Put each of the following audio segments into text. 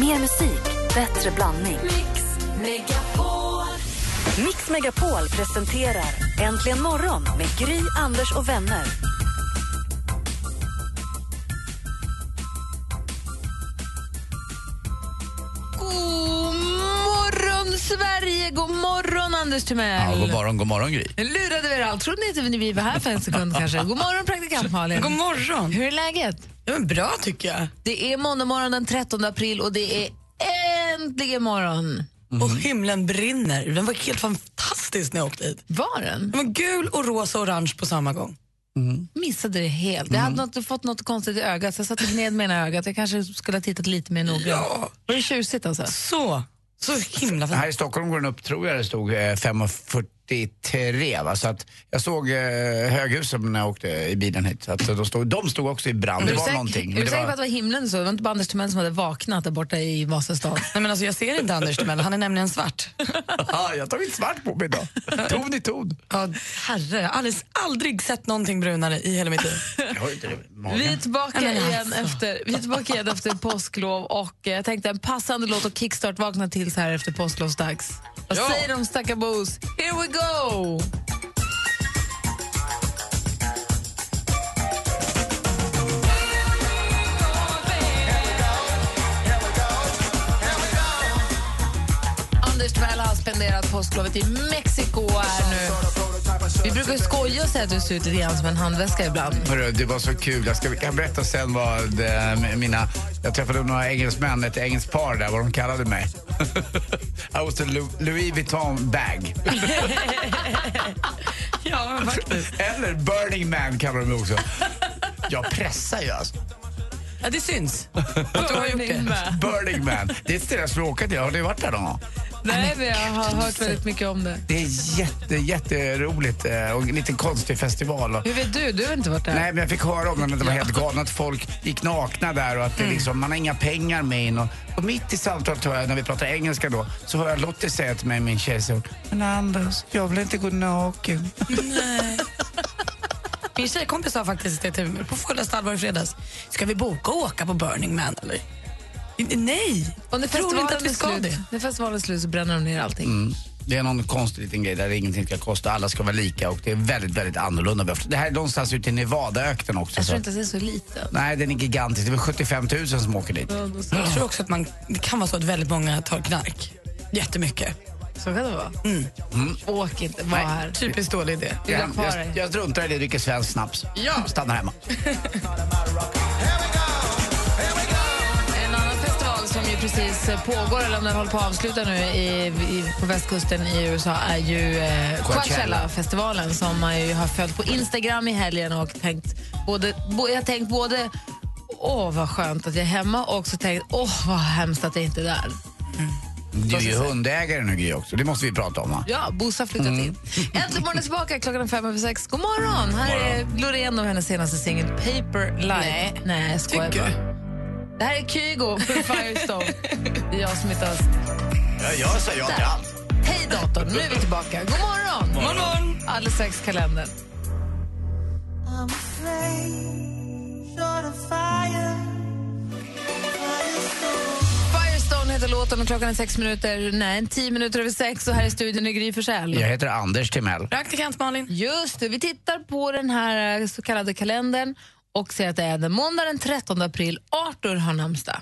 Mer musik, bättre blandning. Mix Megapol. Mix Megapol presenterar Äntligen morgon med Gry, Anders och vänner. God morgon, Sverige! God morgon, Anders Ja, Timell! god morgon, god morgon Gry. Lurade vi er allt? Trodde ni inte vi var här för en sekund kanske? God morgon, praktikant Malin! God morgon! Hur är läget? Ja, men bra tycker jag. Det är måndag morgon den 13 april och det är äntligen morgon. Och himlen brinner. Den var helt fantastisk när jag åkte hit. Var den? Den var gul och rosa och orange på samma gång. Missade det helt. Jag Mm. hade något, fått något konstigt i ögat så jag satte ned med ena ögat. Jag kanske skulle ha tittat lite mer noggrant. Ja. Var det tjusigt alltså? Så, så himla fint. Här i Stockholm går den upp, tror jag det stod, eh, 5.43. Va? Så att jag såg eh, höghusen när jag åkte i bilen hit. Så att de, stod, de stod också i brand. Är Det du var säker- någonting. Är du det säker på att var, det var himlen så? Det var inte bara Anders Timell som hade vaknat där borta i Vasastan. Nej, men alltså, jag ser inte Anders Timell, han är nämligen svart. ah, jag har tagit svart på mig idag. Ton i ton. Ja, herre, jag har alldeles, aldrig sett någonting brunare i hela mitt liv. Jag har inte det i magen. Vi är tillbaka, Nej, men igen, alltså. efter, vi är tillbaka igen efter påsklov och eh, jag tänkte en passande låt att kickstart vakna till så här efter påsklovsdags. Vad Ja. säger de stackarbos? Here we go! Anders Tvell har spenderat påsklovet i Mexiko och är nu. Vi brukar ju skoja och säga att du ser ut lite grann som en handväska ibland. Hörru, det var så kul. Jag ska jag kan berätta sen vad eh, mina... Jag träffade några engelsmän, ett engelskt par där, vad de kallade mig. I was a Lu- Louis Vuitton bag. Ja, Eller Burning Man kallar de mig också. Jag pressar ju alltså. ja, det syns. Att du har gjort det. Burning Man. Det är ett ställe jag skulle åka till. Har du varit där någon gång? Nej, men jag har hört väldigt mycket om det. Det är jätte, jätteroligt eh, och en liten konstig festival. Och- Hur vet du? Du har inte varit där. Nej, men jag fick höra om den att det var helt galna att folk gick nakna där och att det Mm. liksom, man har inga pengar med in. Och, och mitt i samtalet, hör jag, när vi pratar engelska då, så hör jag Lottie säga till mig, min tjej, så, men Anders, jag vill inte gå naken. Min tjejkompis sa faktiskt det till mig på fullaste allvar i fredags. Ska vi boka och åka på Burning Man eller? Nej, Och när tror festivalen, inte att vi ska är slut, det. Mm. när festivalen är slut så bränner de ner allting. Det är någon konstig liten grej där ingenting ska kosta, alla ska vara lika och det är väldigt, väldigt annorlunda. Det här är någonstans ute i Nevadaöknen också. Jag så tror att- inte att det är så liten. Nej, den är gigantisk. Det är väl 75 000 som åker dit. Jag tror också att man, det kan vara så att väldigt många tar knark. Jättemycket. Så kan det vara. Mm. Åk inte, var Nej. här. Typiskt dålig idé. Vill Jag, ha kvar dig. jag, jag struntar i det, dricker svensk snaps. Ja. Stannar hemma. En annan festival som ju precis eh, pågår, eller om den håller på att avsluta nu i, i, på västkusten i USA är ju eh, Coachella-festivalen som man ju har följt på Instagram i helgen och tänkt både, bo, jag har tänkt både åh vad skönt att jag är hemma och också tänkt åh vad hemskt att jag inte är där. Du är ju hundägare nu Gry också, det måste vi prata om va? Ja, Bosse har flyttat in. Äntligen morgon är tillbaka klockan är fem över sex. God morgon! Här är Loreen och hennes senaste singel Paper Life. Nej, Nej jag skojar Tycker bara. Det här är Kygo för Firestone. Det är jag som hittar... Ja, jag säger ja till allt. Hej datorn, nu är vi tillbaka. God morgon! Morgon! Alldeles strax kalendern. Firestone heter låten och klockan är sex minuter, nej, tio minuter över sex och här i studion är Gry Forssell. Jag heter Anders Timell. Praktikant Malin. Just det, vi tittar på den här eh, så kallade kalendern och ser att det är den måndag den 13 april. Arthur har namnsdag.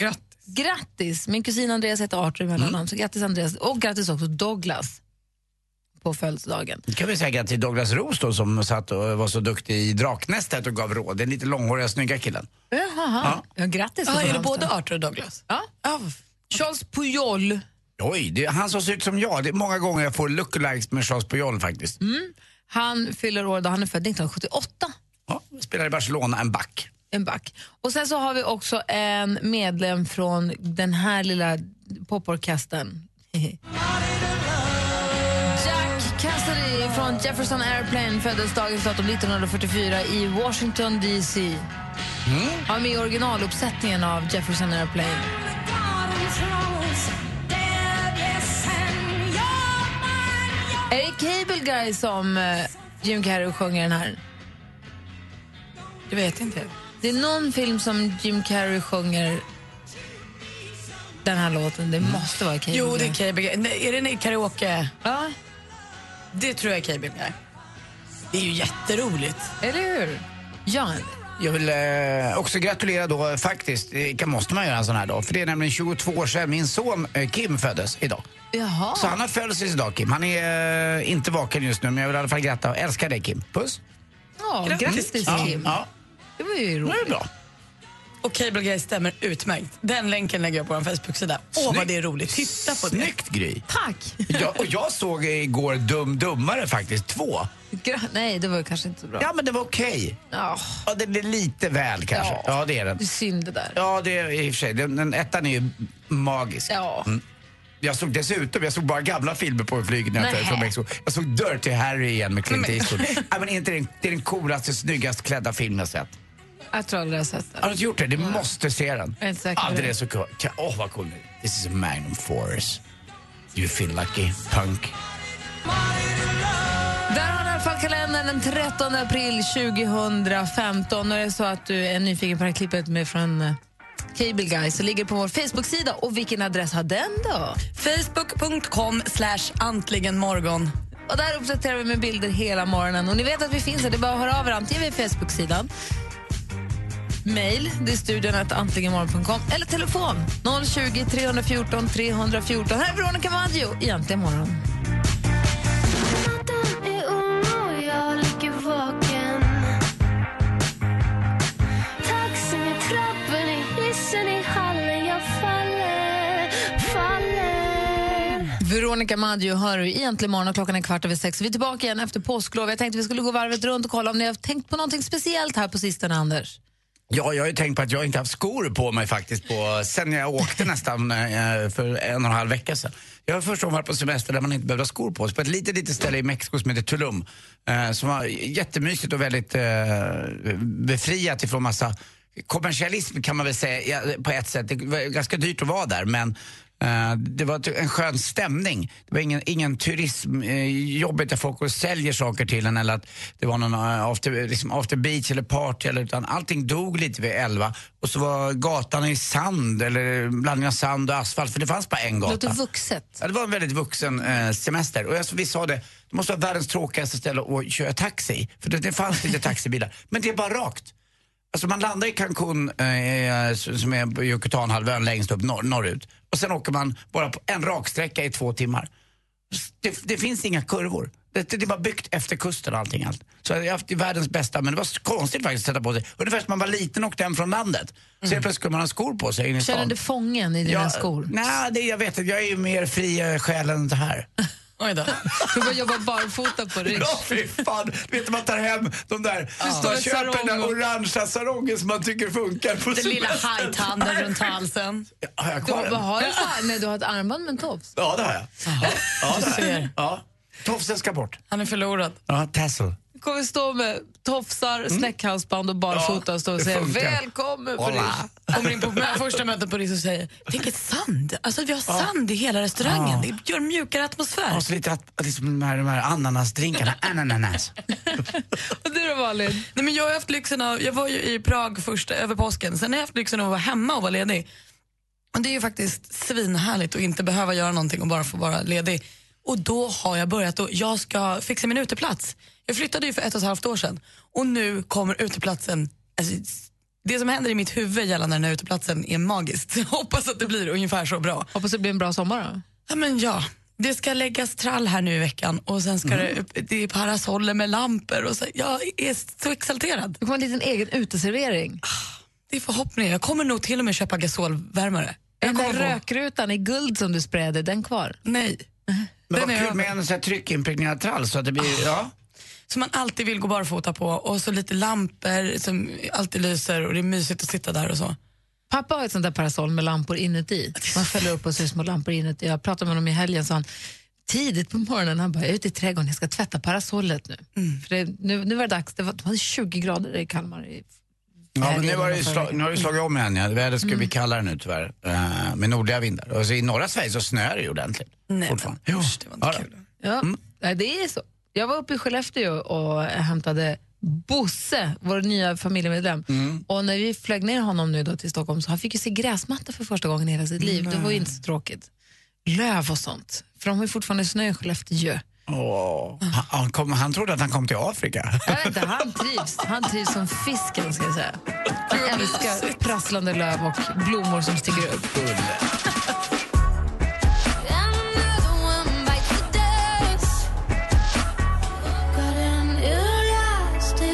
Grattis. Grattis! Min kusin Andreas heter Arthur i mm. så grattis Andreas. Och grattis också Douglas på födelsedagen. Då kan vi säga grattis till Douglas Roos då, som satt och var så duktig i Draknästet och gav råd. Den lite långhåriga, snygga killen. Jaha. Ja. grattis Ah, är det namnsdag. både Arthur och Douglas? Ja. Charles Pujol. Oj, det, han som ser ut som jag. Det är många gånger jag får lookalikes med Charles Pujol faktiskt. Han fyller år då han är född 1978. Ja, spelar i Barcelona, en back. En back. Och sen så har vi också en medlem från den här lilla poporkestern. Jack Cassidy från Jefferson Airplane föddes dagens datum 1944 i Washington DC. Han var med i originaluppsättningen av Jefferson Airplane. Är det Cable Guy som eh, Jim Carrey sjunger den här? Det vet inte jag. Det är någon film som Jim Carrey sjunger den här låten. Det måste vara Katy Jo, det är Perry. Keyyo Nej, Är det en karaoke? Ja, Det tror jag är Keyyo Björk. Det är ju jätteroligt. eller hur? Ja, Jag vill eh, också gratulera då eh, faktiskt, eh, kan- måste man göra en sån här dag? För det är nämligen 22 år sedan min son eh, Kim föddes idag. jaha. Så han har födelsedag Kim. Han är eh, inte vaken just nu men jag vill i alla fall gratta och älskar dig Kim. Puss. Ja, grattis till ja, Mm. Kim. Ja, Det var ju nu är det roligt. bra. Och Cable Guy stämmer utmärkt. Den länken lägger jag på vår Facebook-sida. Åh, vad det är roligt. Titta på det. Snyggt Gry. Tack! Jag, och jag såg igår Dum Dummare faktiskt, två. Gra- Nej, det var ju kanske inte så bra. Ja men det var okej. Ja, Ja, det blir lite väl kanske. Ja, Ja. det är den. det är synd det där. Ja, det är i och för sig. Den, den ettan är ju magisk. Ja. Jag såg dessutom, jag såg bara gamla filmer på flyget när jag Nähä. Mm. från Mexiko. Jag såg Dirty Harry igen med Clint Eastwood. Nej, men inte den, det är den coolaste, snyggast klädda film jag sett. Jag tror aldrig jag har sett Har det. du inte gjort det? Du måste se den. Jag är inte säker på ja, den det. är så cool. Ka- Åh, vad cool den är. This is a magnum force. You feel lucky, punk. Där har ni i alla fall kalendern den 13 april 2015. Och är det så att du är nyfiken på det här klippet med från eh, Cable Guy så ligger det på vår Facebook-sida. Och vilken adress har den då? Facebook.com slash antligenmorgon. Och där uppdaterar vi med bilder hela morgonen. Och ni vet att vi finns här, det är bara att höra av er antingen via Facebook-sidan, mail, det är studion att antligenmorgon.com eller telefon 020 314 314. Här är Veronica Maggio i Äntligen morgon. Natten är ung och jag ligger vaken Taxin i trappen, i hissen, i hallen Jag faller, faller Veronica Maggio hör du i Äntligen morgon och klockan är kvart över sex. Vi är tillbaka igen efter påsklov. Jag tänkte vi skulle gå varvet runt och kolla om ni har tänkt på någonting speciellt här på sistone, Anders. Ja, jag har ju tänkt på att jag inte haft skor på mig faktiskt på, sen jag åkte nästan eh, för en och en halv vecka sedan. Jag har första gången varit på semester där man inte behövde ha skor på sig. På ett litet, litet ställe i Mexiko som heter Tulum. Eh, som var jättemysigt och väldigt eh, befriat ifrån massa kommersialism kan man väl säga ja, på ett sätt. Det var ganska dyrt att vara där men eh, det var en skön stämning. Det var ingen, ingen turism, eh, jobbigt där folk går och säljer saker till en eller att det var någon eh, after, liksom after beach eller party eller utan allting dog lite vid elva och så var gatan i sand eller blandning av sand och asfalt för det fanns bara en Det gata. låter vuxet. Ja, det var en väldigt vuxen eh, semester. Och alltså, vi sa det, det måste vara världens tråkigaste ställe att köra taxi. För det, det fanns lite taxibilar. Men det är bara rakt. Alltså man landar i Cancun, eh, s- som är på Yucatanhalvön längst upp norr, norrut. Och sen åker man bara på en raksträcka i två timmar. S- Det, det finns inga kurvor. Det, det är bara byggt efter kusten och allting. Allt. Så jag har haft det världens bästa, men det var så konstigt faktiskt att sätta på sig. Ungefär som man var liten och åkte hem från landet. Så helt plötsligt skulle man ha skor på sig in i stan. Mm. Känner du fången i dina skor? Nej, det, jag vet inte. Jag är ju mer fri eh, själ än det här. Oj då. Du får jobba barfota på rygg. Ja, fy fan. Du vet, man tar hem de där... Man en köper den där sarong och- orangea sarongen som man tycker funkar på Den lilla semestern. hajtanden runt halsen. Har jag Du kvar har, den? har, du så- nej, du har ett armband med en tofs. Ja, det har jag. Ja, ja, det har jag. ser. Ja. Tofsen ska bort. Han är förlorad. Ja, tassel. Du kommer stå med tofsar, snäckhalsband och barfota Ja, och stå och det säga funkar. välkommen för Hola. Kommer in på mö- första mötet på Riks och säger Tänk sand. Alltså vi har sand i hela restaurangen. Det gör en mjukare atmosfär. Och så lite att, liksom de här, de här ananasdrinkarna. Ananas. Och du då Malin? Nej, men jag har haft lyxen av, jag var ju i Prag först över påsken, sen har jag haft lyxen av att vara hemma och vara ledig. Och det är ju faktiskt svinhärligt att inte behöva göra någonting och bara få vara ledig. Och då har jag börjat och jag ska fixa min uteplats. Jag flyttade ju för ett och ett halvt år sedan och nu kommer uteplatsen, alltså, det som händer i mitt huvud gällande den här uteplatsen är magiskt. Jag hoppas att det blir ungefär så bra. Hoppas det blir en bra sommar då. Ja, men ja. Det ska läggas trall här nu i veckan och sen ska det, det är parasoller med lampor och så, jag är så exalterad. Det kommer en liten egen uteservering. Det är förhoppningen. Jag kommer nog till och med köpa gasolvärmare. Den Jag där kommer få- rökrutan i guld som du spred, är den kvar? Nej. Men vad Den är kul över. med en sån här tryckimpregnerad trall så att det blir... Ja. Som man alltid vill gå barfota på och så lite lampor som alltid lyser och det är mysigt att sitta där och så. Pappa har ett sånt där parasoll med lampor inuti. Man fäller upp och ser små lampor inuti. Jag pratade med honom i helgen, sa han, tidigt på morgonen, han bara, jag är ute i trädgården, jag ska tvätta parasollet nu. För det, nu, nu var det dags, det var, det var 20 grader i Kalmar. i- Ja, men nu, helgen var det och ju förra sla- veckan. nu har det slagit om igen. Ja. Vädret ska bli kallare nu tyvärr. eh, med nordliga vindar. Och så I norra Sverige så snöar det ju ordentligt. Nej, fortfarande. men Jo. usch, det var inte Ja, kul. Ja, nej, det är så. Jag var uppe i Skellefteå och hämtade Bosse, vår nya familjemedlem. Och när vi flög ner honom nu då till Stockholm så han fick ju se gräsmatta för första gången i hela sitt liv. Det var ju inte så tråkigt. Löv och sånt. För de har ju fortfarande snö i Skellefteå. Åh. Han, han, kom, han trodde att han kom till Afrika. Jag vet inte, han trivs. Han trivs som fisken ska jag säga. Han älskar prasslande löv och blommor som sticker upp. Another one bites the dust. Got an elastic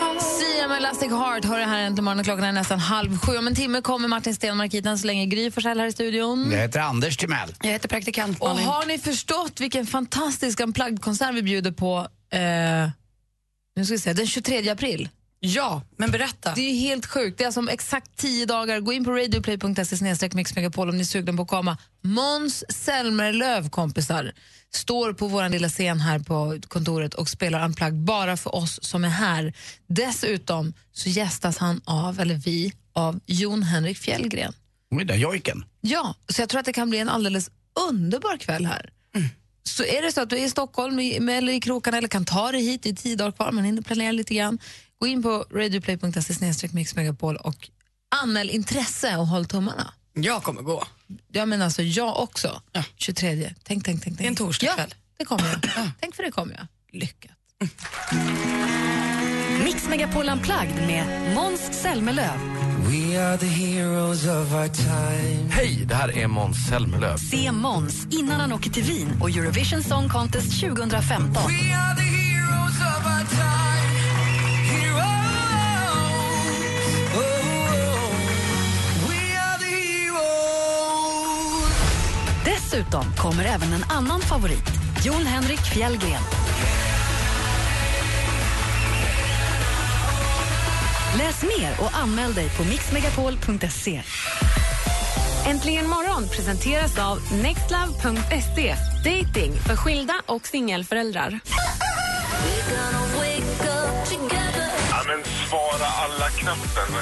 heart. Sia med Elastic Heart hör det här äntligen morgonen. Klockan är nästan halv sju. Om en timme kommer Martin Stenmark hit, än så länge Gry Forssell här i studion. Jag heter Anders Timell. Jag heter praktikant Och Malin. har ni förstått vilken fantastisk unplugged-konsert vi bjuder på eh, nu ska vi se, den 23 april? Ja, men berätta. Det är ju helt sjukt. Det är alltså om exakt tio dagar. Gå in på radioplay.se snedstreck Mix Megapol om ni är sugna på att komma. Måns Zelmerlöw, kompisar, står på vår lilla scen här på kontoret och spelar Unplugged bara för oss som är här. Dessutom så gästas han av, eller vi, av Jon Henrik Fjällgren. Oj då, jojken. Ja, så jag tror att det kan bli en alldeles underbar kväll här. Mm. Så är det så att du är i Stockholm i- eller i krokarna eller kan ta dig hit, det är tio dagar kvar, man hinner planera lite grann. Gå in på radioplay.se snedstreck Mix Megapol och anmäl intresse och håll tummarna. Jag kommer gå. Jag menar alltså jag också. 23. Tänk, tänk, tänk. tänk. är en torsdagkväll. Ja, det kommer jag. tänk för det kommer jag. Lycka. Mix Megapol Unplugged med Måns Zelmerlöw, Hej, det här är Måns Zelmerlöw. se Måns innan han åker till Wien och Eurovision Song Contest 2015. Dessutom kommer även en annan favorit, Jon Henrik Fjällgren. Läs mer och anmäl dig på mixmegapol.se. Äntligen morgon presenteras av nextlove.se. Dating för skilda och singelföräldrar. Ja, men svara alla-knappen,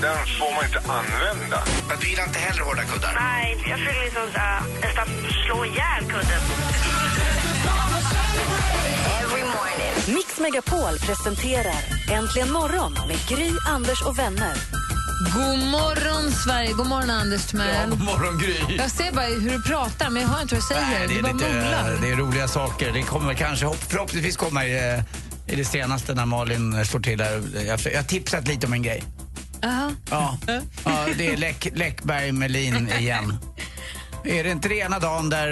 den får man inte använda. Du gillar inte heller hårda kuddar? Nej, jag försöker liksom så här, nästan slå ihjäl kudden. Mix Megapol presenterar Äntligen morgon med Gry, Anders och vänner. God morgon, Sverige. God morgon, Anders Ja, Timell. god morgon, Gry. Jag ser bara hur du pratar, men jag hör inte vad du säger. Nej, det, du är bara lite, mumlar. det är roliga saker. Det kommer kanske, hopp- förhoppningsvis kommer i, eh, i det senaste när Malin eh, slår till där. Jag, jag har tipsat lite om en grej. Aha. Ja, ja det är Läck, Läckberg Melin igen. Är det inte det ena dagen där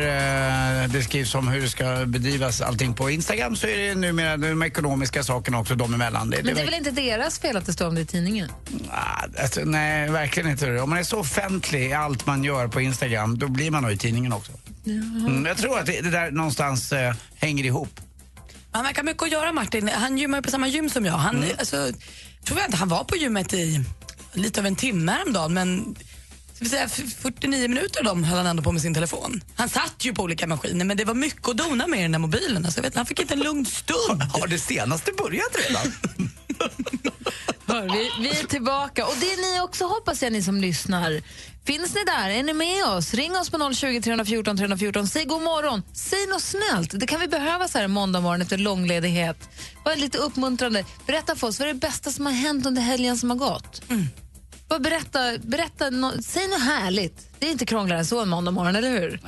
eh, det skrivs om hur det ska bedrivas allting på Instagram så är det numera de ekonomiska sakerna också de emellan. Men det är väl inte deras fel att det står om det i tidningen? Ah, alltså, nej, verkligen inte. Om man är så offentlig i allt man gör på Instagram då blir man nog i tidningen också. Mm, jag tror att det, det där någonstans eh, hänger ihop. Han verkar ha mycket att göra Martin. Han gymmar ju på samma gym som jag. Han, alltså, tror jag inte, han var på gymmet i lite över en timme häromdagen men ska vi säga, f- 49 minuter av dem höll han ändå på med sin telefon. Han satt ju på olika maskiner men det var mycket att dona med i den där mobilen. Alltså, jag vet, inte, han fick inte en lugn stund. Har det senaste börjat redan? Hör, vi, vi är tillbaka. Och det är ni också, hoppas jag, ni som lyssnar. Finns ni där? Är ni med oss? Ring oss på 020 314 314. Säg god morgon. Säg något snällt. Det kan vi behöva så här en måndag morgon efter långledighet. Var lite uppmuntrande. Berätta för oss, vad är det bästa som har hänt under helgen som har gått? Bara berätta, berätta nå- säg något härligt. Det är inte krångligare än så en måndag morgon, eller hur?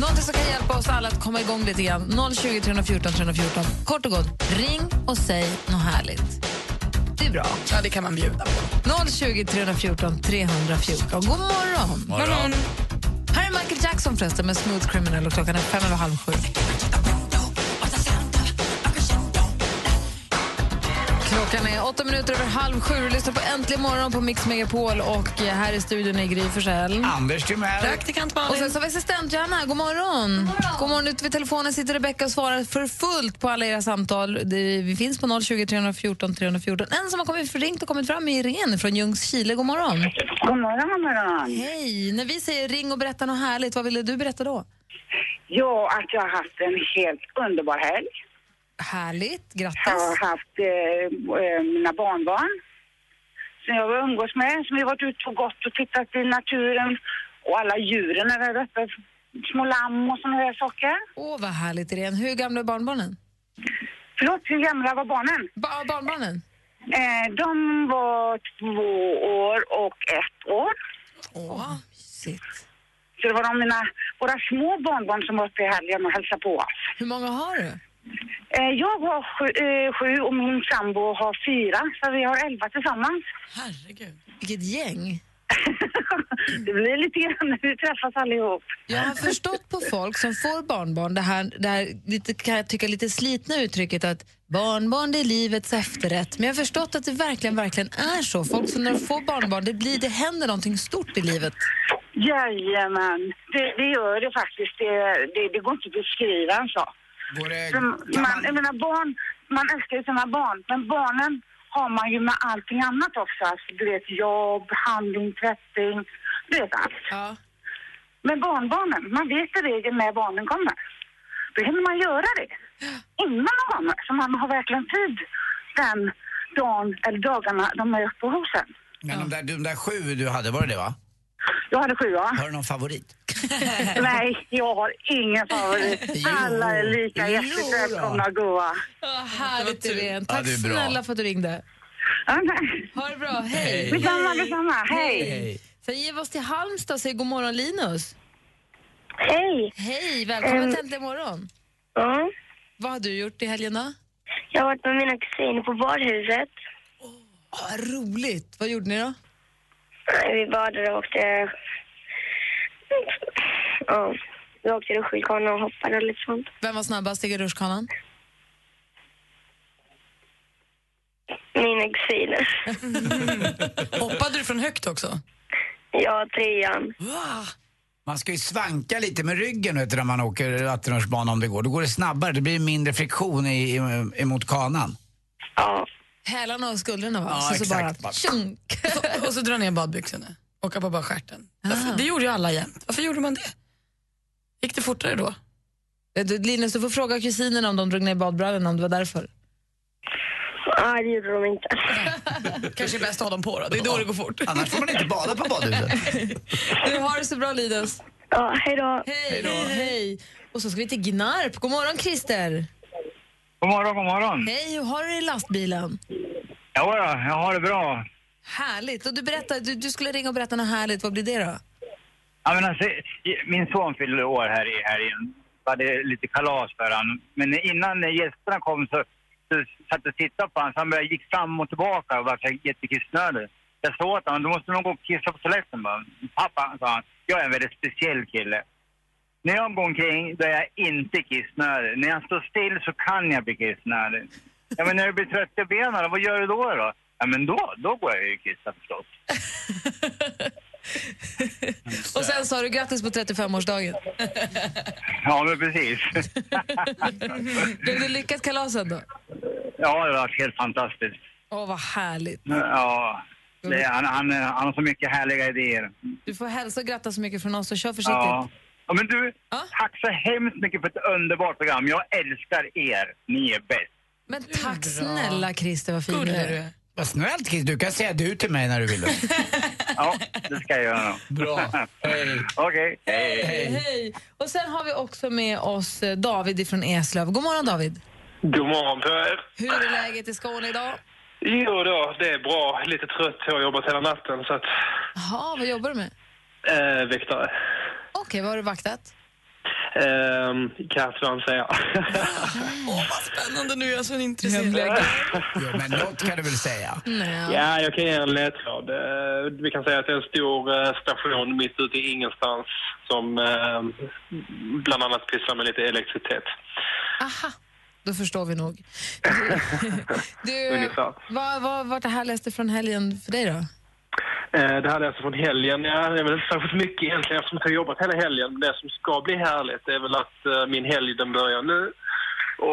Någonting som kan hjälpa oss alla att komma igång lite grann. 020 314 314. Kort och gott, ring och säg något härligt. Det är bra. Ja, det kan man bjuda på. 020 314 314. God morgon! Morgon. Här är Michael Jackson förresten med Smooth Criminal och klockan är fem över halv sju. Klockan är åtta minuter över halv sju. Du lyssnar på Äntligen morgon på Mix Megapol och eh, här i studion är Gry Forssell. Anders Timell. Praktikant Och Malin. sen så har vi assistent Johanna, god morgon. God morgon. Ute vid telefonen sitter Rebecca och svarar för fullt på alla era samtal. Det, vi finns på 020 314 314. En som har kommit förringt och kommit fram är Irene från Ljungskile. God morgon. God morgon, god morgon. Hej! När vi säger ring och berätta något härligt, vad ville du berätta då? Ja, att jag har haft en helt underbar helg. Härligt, Jag har grattis. haft eh, eh, mina barnbarn som jag har umgås med, som vi har varit ute och gått och tittat i naturen och alla djuren är där uppe, små lamm och såna här saker. Åh, vad härligt Irene. Hur gamla är barnbarnen? Förlåt, hur gamla var barnen? Ba- barnbarnen? Eh, de var två år och ett år. Åh, Så det var de mina, våra små barnbarn som var uppe i helgen och hälsade på oss. Hur många har du? Eh, jag har sju, eh, sju och min sambo har fyra, så vi har elva tillsammans. Herregud. Vilket gäng. Det blir lite grann när vi träffas allihop. Jag har förstått på folk som får barnbarn det här, det här lite, kan jag tycka lite slitna uttrycket att barnbarn det är livets efterrätt. Men jag har förstått att det verkligen, verkligen är så. Folk som när de får barnbarn, det, blir, det händer någonting stort i livet. Jajamän, det, det gör det faktiskt. Det, det, det går inte att beskriva en sak. För Man, jag menar barn, man älskar ju sina barn, men barnen har man ju med allting annat också. Alltså, du vet jobb, handling, tvättning, du vet allt. Men barnbarnen, man vet i regel när barnen kommer. Då hinner man göra det innan de kommer, så man har verkligen tid den dagen eller dagarna de är uppe hos en. Men de, där, de där sju du hade, var det det va? Jag hade sju, ja. Har du någon favorit? Nej, jag har ingen favorit. Alla är lika Jo hjärtligt då. välkomna och goa. Oh, härligt Irene. Ja, Tack det är bra. snälla för att du ringde. Ha det bra, hej. Hej. Detsamma, detsamma. Hej. Sen ger vi oss till Halmstad och säger god morgon Linus. Hej. Hej, välkommen Ehm. till Äntligen morgon. Ja. Vad har du gjort i helgen då? Jag har varit med mina kusiner på badhuset. Åh, vad Ah, roligt. Vad gjorde ni då? Nej, Vi badade och åkte... Ja, vi åkte rutschkana och hoppade och lite sånt. Vem var snabbast i rutschkanan? Mina kusiner. Hoppade du från högt också? Ja, trean. Man ska ju svanka lite med ryggen vet du, när man åker vattenrutschbana om det går. Då går det snabbare, det blir mindre friktion i, i, emot kanan. Hälarna och skuldrorna va? Ja, så, så bara, exakt. tjong. Och, och så dra ner badbyxorna. Åka på bara stjärten. Varför- Det gjorde ju alla jämt. Varför gjorde man det? Gick det fortare då? Eh, du, Linus, du får fråga kusinerna om de drog ner badbrallorna om det var därför. Nej, det gjorde de inte. Kanske är bäst att ha dem på då. Det är då det går fort. Annars får man inte bada på badhuset. Du har det så bra Linus. Ja, hej då. Hej, hej, Och så ska vi till Gnarp. God morgon Christer. God morgon, god morgon. Hej, hur har du det i lastbilen? Ja, ja, jag har det bra. Härligt. Och du, berättar, du, du skulle ringa och berätta något härligt. Vad blir det då? Jag menar, se- min son fyllde år här i helgen. Vi hade lite kalas för han. Men innan gästerna kom så, så satt jag och tittade på honom. Så han började, gick fram och tillbaka och var så här jättekissnödig. Jag sa åt honom, du måste nog gå och kissa på toaletten. bara. Pappa, sa han, jag är en väldigt speciell kille. När jag går omkring då är jag inte kissnödig. När jag står still så kan jag bli kissnödig. Ja, men när du blir trött i benen, vad gör du då? då? Ja, men då, då går jag ju och kissar förstås. Och sen sa du grattis på 35-årsdagen. Ja, men precis. Blev det lyckat kalaset då? Ja, det var helt fantastiskt. Åh, vad härligt. Ja, det, han, han, han har så mycket härliga idéer. Du får hälsa och gratta så mycket från oss och kör försiktigt. Ja. ja, men du, tack så hemskt mycket för ett underbart program. Jag älskar er. Ni är bäst. Men tack snälla Christer, vad fin du är. Vad snällt Chris, du kan säga du till mig när du vill. ja, det ska jag göra. Bra. Okej. Hej, hej. Och sen har vi också med oss eh, David från Eslöv. God morgon David. God morgon på er. Hur är läget i Skåne idag? Jo då, det är bra. Lite trött. Jag har jobbat hela natten så att... Jaha, vad jobbar du med? Eh, väktare. Okej, vad har du vaktat? Eh, Katvan säger jag. Spännande nu, jag är så intresserad. Jo, men något kan du väl säga? Ja, jag kan ge en ledtråd. Eh, vi kan säga att det är en stor eh, station mitt ute i ingenstans som eh, bland annat pysslar med lite elektricitet. Aha, då förstår vi nog. Du, Ungefär. vad, vad var det härligaste från helgen för dig då? Eh, Det här är alltså från helgen. Ja, det är väl inte särskilt mycket egentligen eftersom jag har jobbat hela helgen. Men Det som ska bli härligt är väl att eh, min helg den börjar nu.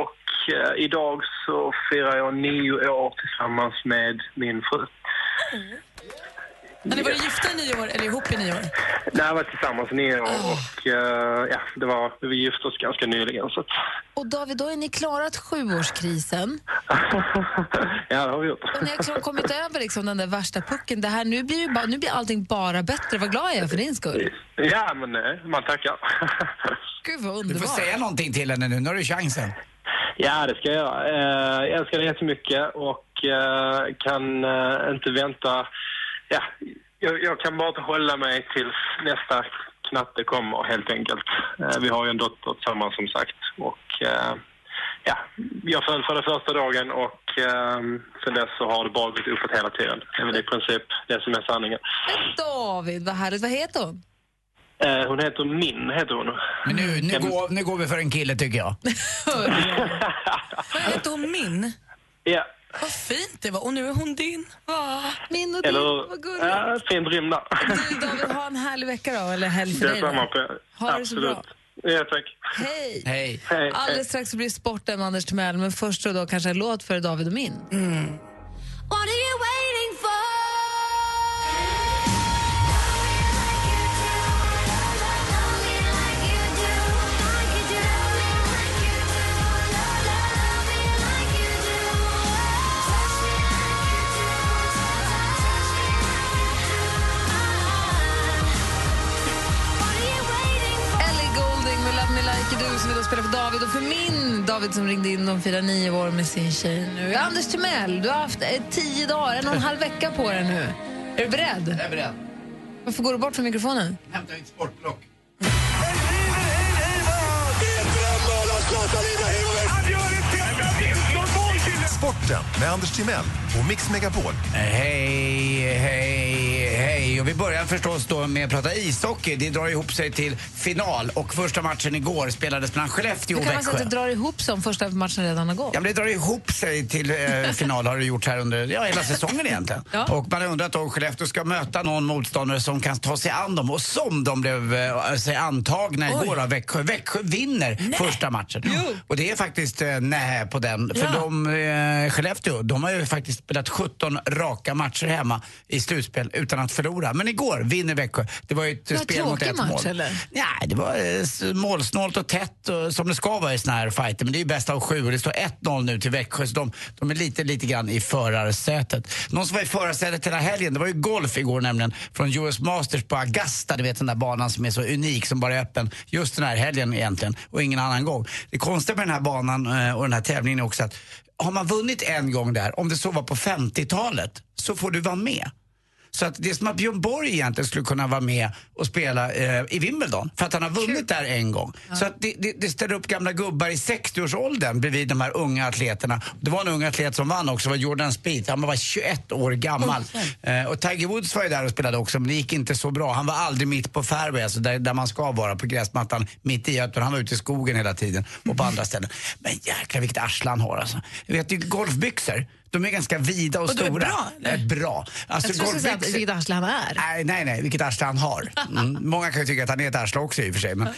Och eh, idag så firar jag nio år tillsammans med min fru. Har ni varit gifta i nio år eller ihop i nio år? Det här var tillsammans nio år och eh, ja, det var, vi gifte oss ganska nyligen så att, Och David, då är ni klarat sjuårskrisen. ja det har vi gjort. Och ni har liksom kommit över liksom den där värsta pucken. Det här, nu, blir ju bara, nu blir allting bara bättre. Vad glad jag är för din skull. Ja men eh, man tackar. Gud vad Du får underbart. säga någonting till henne nu, nu har du chansen. Ja, det ska jag göra. Eh, Jag älskar dig jättemycket och eh, kan eh, inte vänta. Ja, jag, jag kan bara inte hålla mig tills nästa knatte kommer helt enkelt. Eh, Vi har ju en dotter tillsammans som sagt och eh, ja, jag föll för den första dagen och eh, sen dess så har det bara gått uppåt hela tiden. Det är väl i princip det som är sanningen. David, vad härligt. Vad heter hon? Eh, Hon heter Min, heter hon. Men nu, nu, går, nu går vi för en kille tycker jag. Vad hette hon min? Ja. Vad fint det var. Och nu är hon din. Va? Min och Eller, din, vad gulligt. ja, fint rim där. David, ha en härlig vecka då, eller helg för dig. Detsamma. då. på er. Ha det så bra. Absolut. Ja, tack. Hej! Hej. Hej. Alldeles strax så blir det sporten med Anders Timell, men först då, då kanske en låt för David och min. What are you waiting for? Ellie Golding med Love Me Like You Do som vi då spelar för David och för min David som ringde in de firar nio år med sin tjej nu. Anders Timell, du har haft eh, tio dagar, en och en halv vecka på dig nu. Är du beredd? Jag är beredd. Varför går du bort från mikrofonen? Hämta mitt sportblock. Sporten med Anders Timell och Mix Megapol. Hej, hej, hej. Och vi börjar förstås då med att prata ishockey. Det drar ihop sig till final och första matchen igår spelades mellan Skellefteå Då och kan man säga Växjö. att det drar ihop sig om första matchen redan har gått. Ja, men det drar ihop sig till eh, final har det gjort här under ja, hela säsongen egentligen. Och man har undrat om Skellefteå ska möta någon motståndare som kan ta sig an dem och som de blev eh, sig antagna igår av Växjö. Växjö vinner första matchen. Och det är faktiskt eh, nej på den. För Ja. de, eh, Skellefteå, de har ju faktiskt spelat 17 raka matcher hemma i slutspel utan att förlora. Men igår vinner Växjö. Det var ju ett Det var en spel mot tråkig ett match, mål. eller? Nej, det var eh, s- målsnålt och tätt och, som det ska vara i såna här fighter. Men det är ju bäst av sju och det står 1-0 nu till Växjö. Så de, de är lite, lite grann i förarsätet. Någon som var i förarsätet hela helgen, det var ju golf igår nämligen. Från US Masters på Augusta, du vet den där banan som är så unik som bara är öppen just den här helgen egentligen och ingen annan gång. Det konstiga med den här banan eh, och den här tävlingen är också att har man vunnit en gång där, om det så var på 50-talet, så får du vara med. Så att det är som att Björn Borg egentligen skulle kunna vara med och spela eh, i Wimbledon för att han har vunnit där en gång. Så att det, det, det ställer upp gamla gubbar i 60-årsåldern bredvid de här unga atleterna. Det var en ung atlet som vann också, det var Jordan Spieth. Han var 21 år gammal. Eh, och Tiger Woods var ju där och spelade också, men det gick inte så bra. Han var aldrig mitt på fairway, alltså där, där man ska vara, på gräsmattan mitt i. Utan han var ute i skogen hela tiden och på andra ställen. Men jäklar vilket arsle han har alltså. Du vet, det är golfbyxor. De är ganska vida och, Och de är stora. bra, Eh, bra. Alltså, jag tror du skulle säga att golfbyxor- vilket arsle han är. Nej, nej, nej, vilket arsle han har. Mm. Många kan ju tycka att han är ett arsle också i och för sig. Men,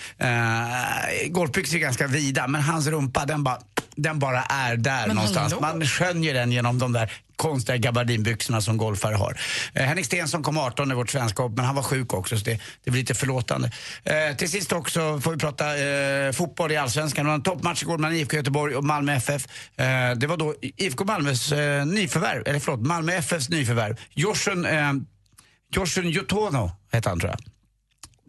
eh, golfbyxor är ganska vida, men hans rumpa den bara, den bara är där Men någonstans. hallå. Man skönjer den genom de där konstiga gabardinbyxorna som golfare har. Eh, Henrik Stenson kom 18 i vårt svenska hopp, men han var sjuk också så det, det blir lite förlåtande. Eh, till sist också får vi prata eh, fotboll i Allsvenskan. Det var en toppmatch igår mellan IFK Göteborg och Malmö FF. Eh, det var då IFK Malmös eh, nyförvärv, eller förlåt, Malmö FFs nyförvärv. Jorsen, eh, Joshun Jutono heter han tror jag.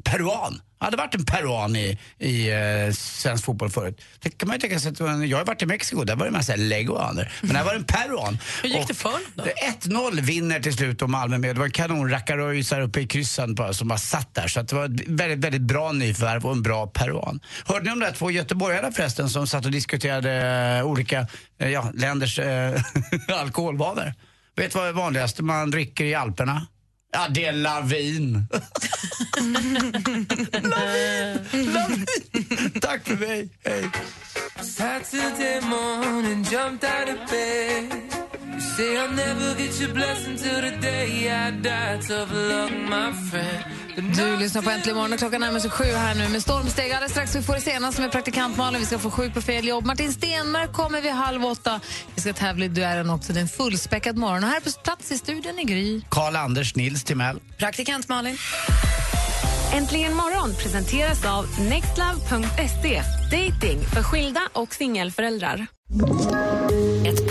Peruan. Jag hade varit en peruan i, i eh, svensk fotboll förut. Det kan man ju tänka sig att det var en, jag har varit i Mexiko, där var det en massa leguaner. Men här var det en peruan. Hur gick det för då? 1-0 vinner till slut och Malmö med. Det var kanonrackaröjsar uppe i kryssen bara, som bara satt där. Så att det var ett väldigt, väldigt bra nyförvärv och en bra peruan. Hörde ni om de där två göteborgarna förresten som satt och diskuterade eh, olika eh, ja, länders eh, alkoholvanor? Vet du vad det vanligaste man dricker i Alperna? Ja, det är lavin. lavin! Tack för mig. Hej. Saturday morning, jumped out of bed. You say I'll never get your blessing till the day I die. Tough luck, my friend. Du lyssnar på Äntligen morgon och klockan närmar sig sju här nu med stormsteg. Alldeles strax vi får det senaste med praktikant Malin. Vi ska få sjuk på fel jobb. Martin Stenmark kommer vid halv åtta. Vi ska tävla i duellen också. Det är en fullspäckad morgon. Och här på plats i studion är Gry. Karl-Anders Nils Timell. Praktikant Malin. Äntligen morgon presenteras av nextlove.se. Dating för skilda och singelföräldrar. Ett